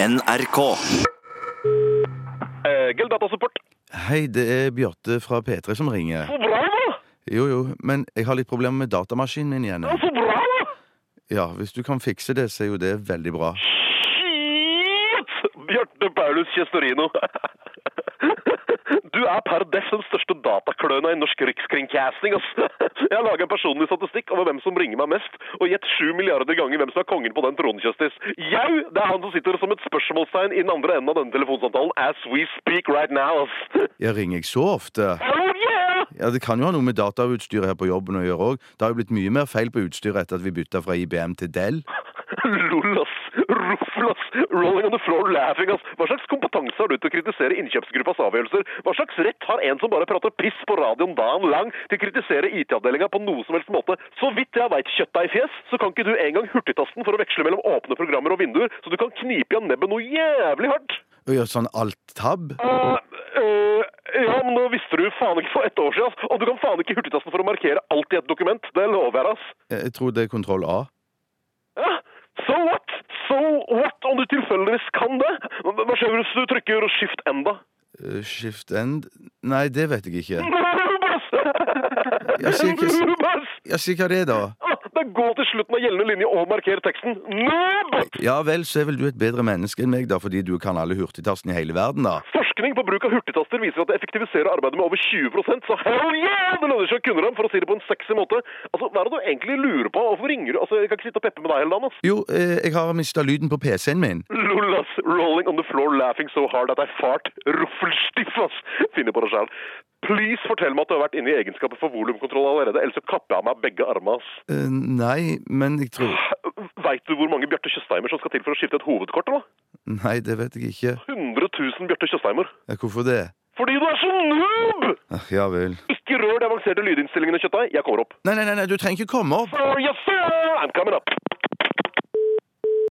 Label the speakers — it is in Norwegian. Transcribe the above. Speaker 1: NRK.
Speaker 2: Eh, Gild datasupport.
Speaker 3: Hei, det er Bjarte fra P3 som ringer.
Speaker 2: Så bra, da!
Speaker 3: Jo, jo, men jeg har litt problemer med datamaskinen min igjen.
Speaker 2: Ja, Så bra, da!
Speaker 3: Ja, hvis du kan fikse det, så er jo det veldig bra.
Speaker 2: Shit! Bjarte Paulus Kjestorino. Du er per def den største datakløna i norsk rikskringkasting. ass. Jeg har laga en personlig statistikk over hvem som ringer meg mest, og gjett sju milliarder ganger hvem som er kongen på den tronen, Kjøstis. Jau! Det er han som sitter som et spørsmålstegn i den andre enden av denne telefonsamtalen as we speak right now, ass.
Speaker 3: Jeg ringer ikke så ofte.
Speaker 2: Oh, yeah!
Speaker 3: Ja, Det kan jo ha noe med datautstyret her på jobben å gjøre òg. Det har jo blitt mye mer feil på utstyret etter at vi bytta fra IBM til Del.
Speaker 2: Lol, ass. Ruffel, ass. Rolling on the floor laughing, ass. Hva slags kompetanse har du til å kritisere innkjøpsgruppas avgjørelser? Hva slags rett har en som bare prater piss på radioen dagen lang, til å kritisere IT-avdelinga på noe som helst måte? Så vidt jeg veit, kjøttdeigfjes, så kan ikke du engang hurtigtasten for å veksle mellom åpne programmer og vinduer, så du kan knipe igjen nebbet noe jævlig hardt.
Speaker 3: Og gjør sånn alt-tab.
Speaker 2: Eh, eh, ja, men nå visste du faen ikke for ett år siden, ass. Og du kan faen ikke hurtigtasten for å markere alt i et dokument. Det lover jeg, ass.
Speaker 3: Jeg tror det er kontroll A.
Speaker 2: Ja, so what? So what om du tilfeldigvis kan det? Hva hva skjer hvis du trykker skift enda?
Speaker 3: Eh, Shift end Nei, det vet jeg ikke.
Speaker 2: Rubbas!
Speaker 3: Jeg sier ikke-
Speaker 2: Rubbas!
Speaker 3: Ja, Si hva det er, da.
Speaker 2: Ah, Da gå til slutten av gjeldende linje og marker teksten. Noob!
Speaker 3: Ja vel, så er vel du et bedre menneske enn meg, da, fordi du kan alle hurtigtastene i hele verden, da.
Speaker 2: Forskning på bruk av hurtigtaster viser at det effektiviserer arbeidet med over 20 så hell yeah! Det lønner seg å kunne dem, for å si det på en sexy måte. Altså, Hva er det du egentlig lurer på? Hvorfor ringer du? Altså, Jeg kan ikke sitte og peppe med deg hele dagen. ass.
Speaker 3: Jo, eh, jeg har mista lyden på PC-en min.
Speaker 2: Lol, ass. Rolling on the floor laughing so hard at I fart. Ruffelstiff, ass. Finner på det sjæl. Please fortell meg at du har vært inne i egenskapet for volumkontroll allerede, ellers så kapper jeg av meg begge armene, ass.
Speaker 3: Eh, nei, men jeg tror
Speaker 2: Veit du hvor mange Bjarte Tjøstheimer som skal til for å skifte et hovedkort, eller?
Speaker 3: Nei, det vet jeg ikke.
Speaker 2: 100 000 Bjarte Tjøstheimer.
Speaker 3: Eh, Hvorfor det?
Speaker 2: Fordi du er så noob!
Speaker 3: Ah, ja vel.
Speaker 2: Ikke rør de avanserte lydinnstillingene, kjøttdeig. Jeg kommer opp.
Speaker 3: Nei, nei, nei, nei, du trenger ikke komme opp.
Speaker 2: Sir, yes, sir! I'm coming up.